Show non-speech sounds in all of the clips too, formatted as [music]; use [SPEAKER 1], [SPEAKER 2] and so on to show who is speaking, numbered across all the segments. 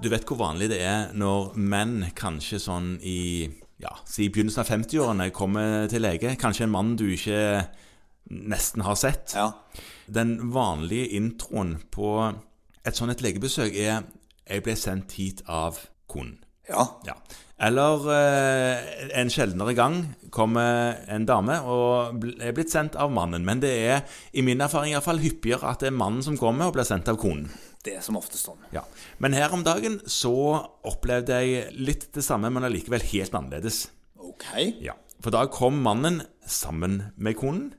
[SPEAKER 1] Du vet hvor vanlig det er når menn, kanskje sånn i ja, si i begynnelsen av 50-årene, kommer til lege. Kanskje en mann du ikke nesten har sett.
[SPEAKER 2] Ja.
[SPEAKER 1] Den vanlige introen på et sånt et legebesøk er 'Jeg ble sendt hit av konen'.
[SPEAKER 2] ja.
[SPEAKER 1] Ja. Eller eh, en sjeldnere gang kommer en dame og bl- er blitt sendt av mannen. Men det er i min erfaring i hvert fall hyppigere at det er mannen som kommer og blir sendt av konen.
[SPEAKER 2] Det er som oftest sånn.
[SPEAKER 1] Ja. Men her om dagen så opplevde jeg litt det samme, men allikevel helt annerledes.
[SPEAKER 2] Ok.
[SPEAKER 1] Ja. For da kom mannen sammen med konen.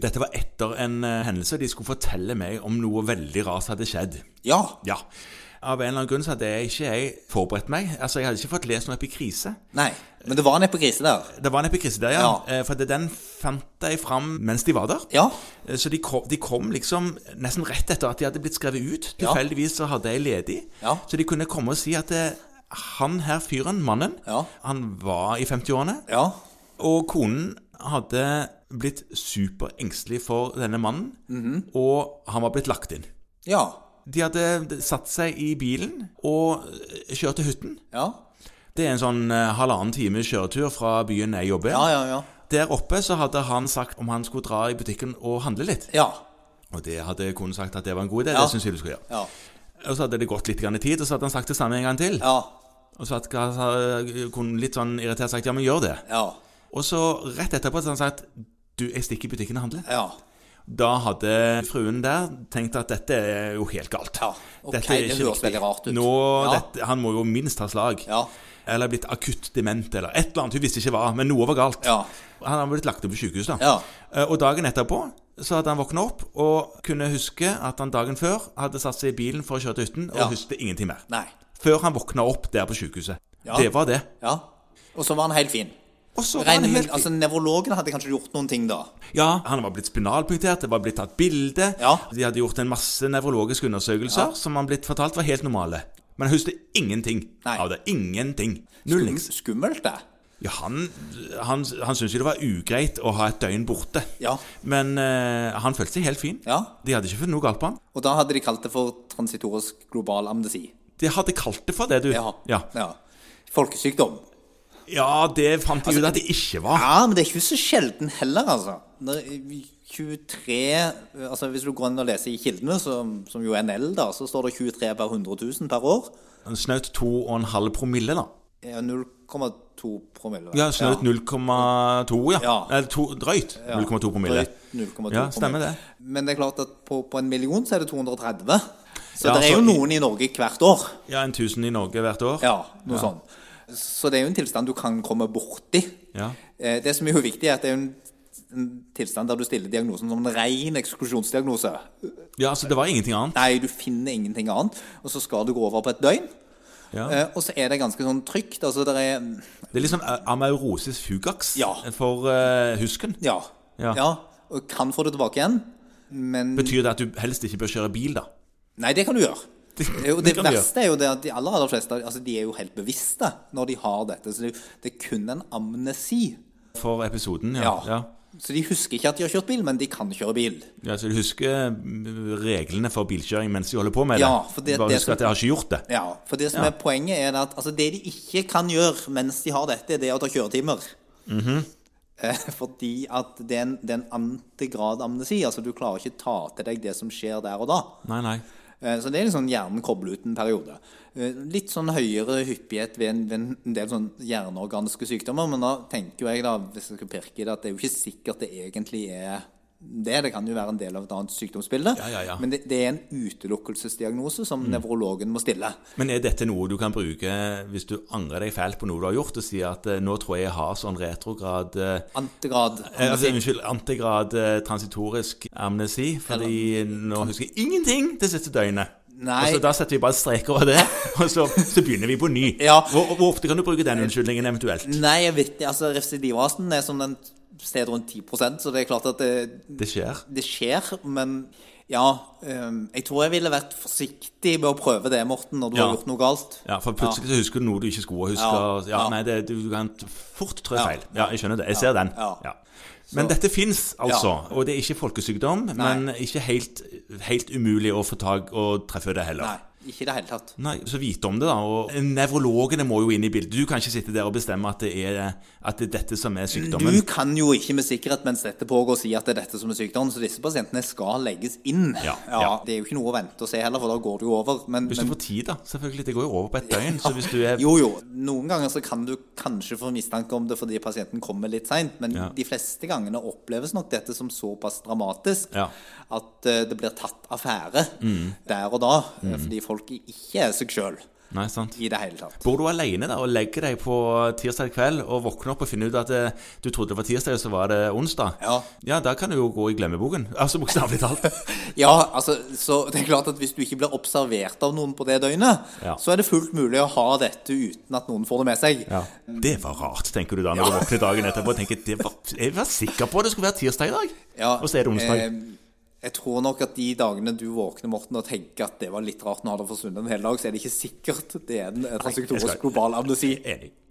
[SPEAKER 1] Dette var etter en eh, hendelse, og de skulle fortelle meg om noe veldig rart hadde skjedd.
[SPEAKER 2] Ja.
[SPEAKER 1] Ja. Av en eller annen grunn så hadde jeg ikke jeg forberedt meg. Altså, Jeg hadde ikke fått lest noe epikrise.
[SPEAKER 2] Nei. Men det var en epikrise der.
[SPEAKER 1] Det var en epikrise der, ja.
[SPEAKER 2] Ja.
[SPEAKER 1] Eh, For det- den fant jeg fram mens de var der.
[SPEAKER 2] Ja.
[SPEAKER 1] Eh, Så de kom, de kom liksom nesten rett etter at de hadde blitt skrevet ut.
[SPEAKER 2] Ja.
[SPEAKER 1] Tilfeldigvis så hadde jeg ledig.
[SPEAKER 2] Ja.
[SPEAKER 1] Så de kunne komme og si at eh, han her fyren, mannen,
[SPEAKER 2] Ja.
[SPEAKER 1] han var i 50-årene.
[SPEAKER 2] Ja.
[SPEAKER 1] Og konen hadde blitt superengstelig for denne mannen,
[SPEAKER 2] Mhm.
[SPEAKER 1] og han var blitt lagt inn.
[SPEAKER 2] Ja.
[SPEAKER 1] De hadde satt seg i bilen og eh, kjørt til hytten.
[SPEAKER 2] Ja.
[SPEAKER 1] Det er en sånn eh, halvannen time kjøretur fra byen jeg jobber.
[SPEAKER 2] Ja, ja, ja.
[SPEAKER 1] Der oppe så hadde han sagt om han skulle dra i butikken og handle litt.
[SPEAKER 2] Ja.
[SPEAKER 1] Og det hadde konen sagt at det var en god idé.
[SPEAKER 2] Ja.
[SPEAKER 1] Det synes jeg du skulle gjøre.
[SPEAKER 2] Ja.
[SPEAKER 1] Og så hadde det gått litt grann tid, og så hadde han sagt det samme en gang til.
[SPEAKER 2] Ja.
[SPEAKER 1] Og så hadde konen litt sånn irritert sagt ja, men gjør det.
[SPEAKER 2] Ja.
[SPEAKER 1] Og så rett etterpå så hadde han sagt du, jeg stikker i butikken og handler.
[SPEAKER 2] Ja.
[SPEAKER 1] Da hadde fruen der tenkt at dette er jo helt galt.
[SPEAKER 2] Ja. Ok,
[SPEAKER 1] Dette er
[SPEAKER 2] det
[SPEAKER 1] ikke
[SPEAKER 2] høres
[SPEAKER 1] riktig.
[SPEAKER 2] veldig rart ut.
[SPEAKER 1] Nå,
[SPEAKER 2] Ja.
[SPEAKER 1] dette, han må jo minst ha slag.
[SPEAKER 2] Ja.
[SPEAKER 1] Eller blitt akutt dement, eller et eller annet. Hun visste ikke hva, men noe var galt.
[SPEAKER 2] Ja.
[SPEAKER 1] Han hadde blitt lagt opp på sykehus, da.
[SPEAKER 2] Ja.
[SPEAKER 1] Eh, Og dagen etterpå så hadde han våkna opp og kunne huske at han dagen før hadde satt seg i bilen for å kjøre til hytten, og
[SPEAKER 2] Ja.
[SPEAKER 1] husket ingenting mer.
[SPEAKER 2] Nei.
[SPEAKER 1] Før han våkna opp der på sykehuset.
[SPEAKER 2] Ja.
[SPEAKER 1] Det var det.
[SPEAKER 2] Ja. Og så var han helt fin.
[SPEAKER 1] Og så var han
[SPEAKER 2] Regner
[SPEAKER 1] helt
[SPEAKER 2] med, altså Nevrologen hadde kanskje gjort noen ting da.
[SPEAKER 1] Ja, han var blitt spinalpunktert, det var blitt tatt bilde.
[SPEAKER 2] Ja.
[SPEAKER 1] De hadde gjort en masse nevrologiske undersøkelser som han blitt fortalt var helt normale. Men han husket ingenting
[SPEAKER 2] Nei.
[SPEAKER 1] av det. Ingenting. Null niks.
[SPEAKER 2] Skummelt, det.
[SPEAKER 1] Ja, han, han, han syntes jo det var ugreit å ha et døgn borte.
[SPEAKER 2] Ja.
[SPEAKER 1] Men eh, han følte seg helt fin.
[SPEAKER 2] Ja.
[SPEAKER 1] De hadde ikke funnet noe galt på han.
[SPEAKER 2] Og da hadde de kalt det for transitorisk global amnesi.
[SPEAKER 1] De hadde kalt det for det, du.
[SPEAKER 2] Ja.
[SPEAKER 1] ja.
[SPEAKER 2] ja. Folkesykdom.
[SPEAKER 1] Ja, det fant de ut at det ikke var.
[SPEAKER 2] Altså, Ja, men det er ikke så sjelden heller, altså. Når 23 altså Hvis du går inn og leser i kildene, som, som jo er NL, da, så står det 23 per 100 000 per år.
[SPEAKER 1] Han Snaut 2,5 promille, da.
[SPEAKER 2] Ja, 0,2 promille.
[SPEAKER 1] Ja, snaut 0,2, ja.
[SPEAKER 2] Ja.
[SPEAKER 1] Eller to, drøyt 0,2 promille.
[SPEAKER 2] Drøyt 0,2
[SPEAKER 1] Ja, stemmer
[SPEAKER 2] promille.
[SPEAKER 1] det.
[SPEAKER 2] Men det er klart at på, på en million så er det 230. Så
[SPEAKER 1] Ja,
[SPEAKER 2] det
[SPEAKER 1] altså,
[SPEAKER 2] er jo
[SPEAKER 1] i-
[SPEAKER 2] noen i Norge hvert år.
[SPEAKER 1] Ja, en tusen i Norge hvert år.
[SPEAKER 2] Ja, noe sånn. Så det er jo en tilstand du kan komme borti.
[SPEAKER 1] Ja.
[SPEAKER 2] Eh, Det som er jo viktig, er at det er jo en en tilstand der du stiller diagnosen som en ren eksklusjonsdiagnose.
[SPEAKER 1] Ja, så det var ingenting annet.
[SPEAKER 2] Nei, du finner ingenting annet, og så skal du gå over på et døgn.
[SPEAKER 1] Ja.
[SPEAKER 2] Eh, Og så er det ganske sånn trygt. Altså, det er
[SPEAKER 1] Det er litt sånn eh, amaurosis fugax
[SPEAKER 2] Ja.
[SPEAKER 1] for eh, husken.
[SPEAKER 2] Ja.
[SPEAKER 1] Ja.
[SPEAKER 2] Og kan få det tilbake igjen, men
[SPEAKER 1] Betyr det at du helst ikke bør kjøre bil, da?
[SPEAKER 2] Nei, det kan du gjøre.
[SPEAKER 1] [laughs] Det-
[SPEAKER 2] Eh, Og
[SPEAKER 1] det
[SPEAKER 2] det,
[SPEAKER 1] kan du
[SPEAKER 2] verste er jo det at de aller, aller fleste altså, de er jo helt bevisste når de har dette. Så det, er jo- det er kun en amnesi.
[SPEAKER 1] For episoden, ja.
[SPEAKER 2] Ja.
[SPEAKER 1] ja.
[SPEAKER 2] Så de husker ikke at de har kjørt bil, men de kan kjøre bil.
[SPEAKER 1] Ja, Så du husker mm, reglene for bilkjøring mens de holder på med det?
[SPEAKER 2] Ja, for det-
[SPEAKER 1] Bare
[SPEAKER 2] det
[SPEAKER 1] husk
[SPEAKER 2] som-
[SPEAKER 1] at jeg har ikke gjort det.
[SPEAKER 2] Ja, for det som
[SPEAKER 1] Ja.
[SPEAKER 2] er poenget er at altså, det de ikke kan gjøre mens de har dette, det er å ta kjøretimer.
[SPEAKER 1] Mhm.
[SPEAKER 2] Eh, [laughs] Fordi at det er en, det er en antigrad amnesi. Altså, du klarer ikke ta til deg det som skjer der og da.
[SPEAKER 1] Nei, nei.
[SPEAKER 2] Eh, Så det er liksom hjernen kobler ut en periode. Eh, Litt sånn høyere hyppighet ved en, ved en del sånn hjerneorganiske sykdommer, men da tenker jo jeg, da, hvis jeg skal pirke i det, at det er jo ikke sikkert det egentlig er det. Det kan jo være en del av et annet sykdomsbilde.
[SPEAKER 1] Ja, ja, Mm. ja.
[SPEAKER 2] Men det, det er en utelukkelsesdiagnose som nevrologen må stille.
[SPEAKER 1] Men er dette noe du kan bruke hvis du angrer deg fælt på noe du har gjort, og sier at eh, nå tror jeg jeg har sånn retrograd eh,
[SPEAKER 2] Antegrad.
[SPEAKER 1] eh, altså, Unnskyld, antigrad eh, transitorisk amnesi, fordi nå husker jeg ingenting det siste døgnet.
[SPEAKER 2] Nei.
[SPEAKER 1] Og så Da setter vi bare streker over det, [laughs] og så, så begynner vi på ny.
[SPEAKER 2] Ja.
[SPEAKER 1] Hvor, hvor ofte kan du bruke den unnskyldningen eventuelt?
[SPEAKER 2] Nei, jeg vet ikke. Altså, refsidivrasen er sånn en sted rundt 10 så det er klart at det,
[SPEAKER 1] Det skjer.
[SPEAKER 2] det skjer, men ja ehm, Jeg tror jeg ville vært forsiktig med å prøve det, Morten, når du
[SPEAKER 1] Ja.
[SPEAKER 2] har gjort noe galt.
[SPEAKER 1] Ja, for plutselig så husker du noe du ikke skulle huske.
[SPEAKER 2] Ja.
[SPEAKER 1] og- Ja,
[SPEAKER 2] Ja.
[SPEAKER 1] nei, det, du kan t- fort trø
[SPEAKER 2] Ja.
[SPEAKER 1] feil. Ja, jeg skjønner det. Jeg ser den.
[SPEAKER 2] Ja.
[SPEAKER 1] Ja. Men dette fins, altså.
[SPEAKER 2] Ja.
[SPEAKER 1] Og det er ikke folkesykdom, men ikke helt, helt umulig å få tak og treffe det heller.
[SPEAKER 2] Nei. Ikke i det hele tatt.
[SPEAKER 1] Nei, så vite om det, da. Og nevrologene må jo inn i bildet. Du kan ikke sitte der og bestemme at det er, at det er dette som er sykdommen.
[SPEAKER 2] Du kan jo ikke med sikkerhet mens dette pågår si at det er dette som er sykdommen, så disse pasientene skal legges inn.
[SPEAKER 1] Ja, ja.
[SPEAKER 2] Det er jo ikke noe å vente og se heller, for da går det jo over. Men,
[SPEAKER 1] Hvis du
[SPEAKER 2] men
[SPEAKER 1] får tid, da. Selvfølgelig. Det går jo over på et døgn. Så hvis du er
[SPEAKER 2] Jo, jo. Noen ganger så kan du kanskje få mistanke om det fordi pasienten kommer litt seint, men
[SPEAKER 1] Ja.
[SPEAKER 2] de fleste gangene oppleves nok dette som såpass dramatisk
[SPEAKER 1] Ja. Mm.
[SPEAKER 2] at eh, det blir tatt affære der og da, eh, fordi folk ikke er seg sjøl
[SPEAKER 1] Nei, sant.
[SPEAKER 2] i det hele tatt.
[SPEAKER 1] Bor du alene da, og legger deg på tirsdag kveld og våkner opp og finner ut at eh, du trodde det var tirsdag, og så var det onsdag?
[SPEAKER 2] Ja.
[SPEAKER 1] ja, da kan du jo gå i glemmeboken. [laughs] Altså bokstavelig talt.
[SPEAKER 2] Ja, altså, så det er klart at hvis du ikke blir observert av noen på det døgnet,
[SPEAKER 1] Ja.
[SPEAKER 2] så er det fullt mulig å ha dette uten at noen får det med seg.
[SPEAKER 1] Ja. Det var rart, tenker du da, når du våkner dagen etterpå og tenker det var, jeg var sikker på det skulle være tirsdag i dag.
[SPEAKER 2] Ja,
[SPEAKER 1] og så er det onsdag.
[SPEAKER 2] eh, jeg tror nok at de dagene du våkner, Morten, og tenker at det var litt rart, nå har det forsvunnet en hel dag, så er det ikke sikkert det er en
[SPEAKER 1] jeg skal-
[SPEAKER 2] transektorisk global amnesi.
[SPEAKER 1] Enig.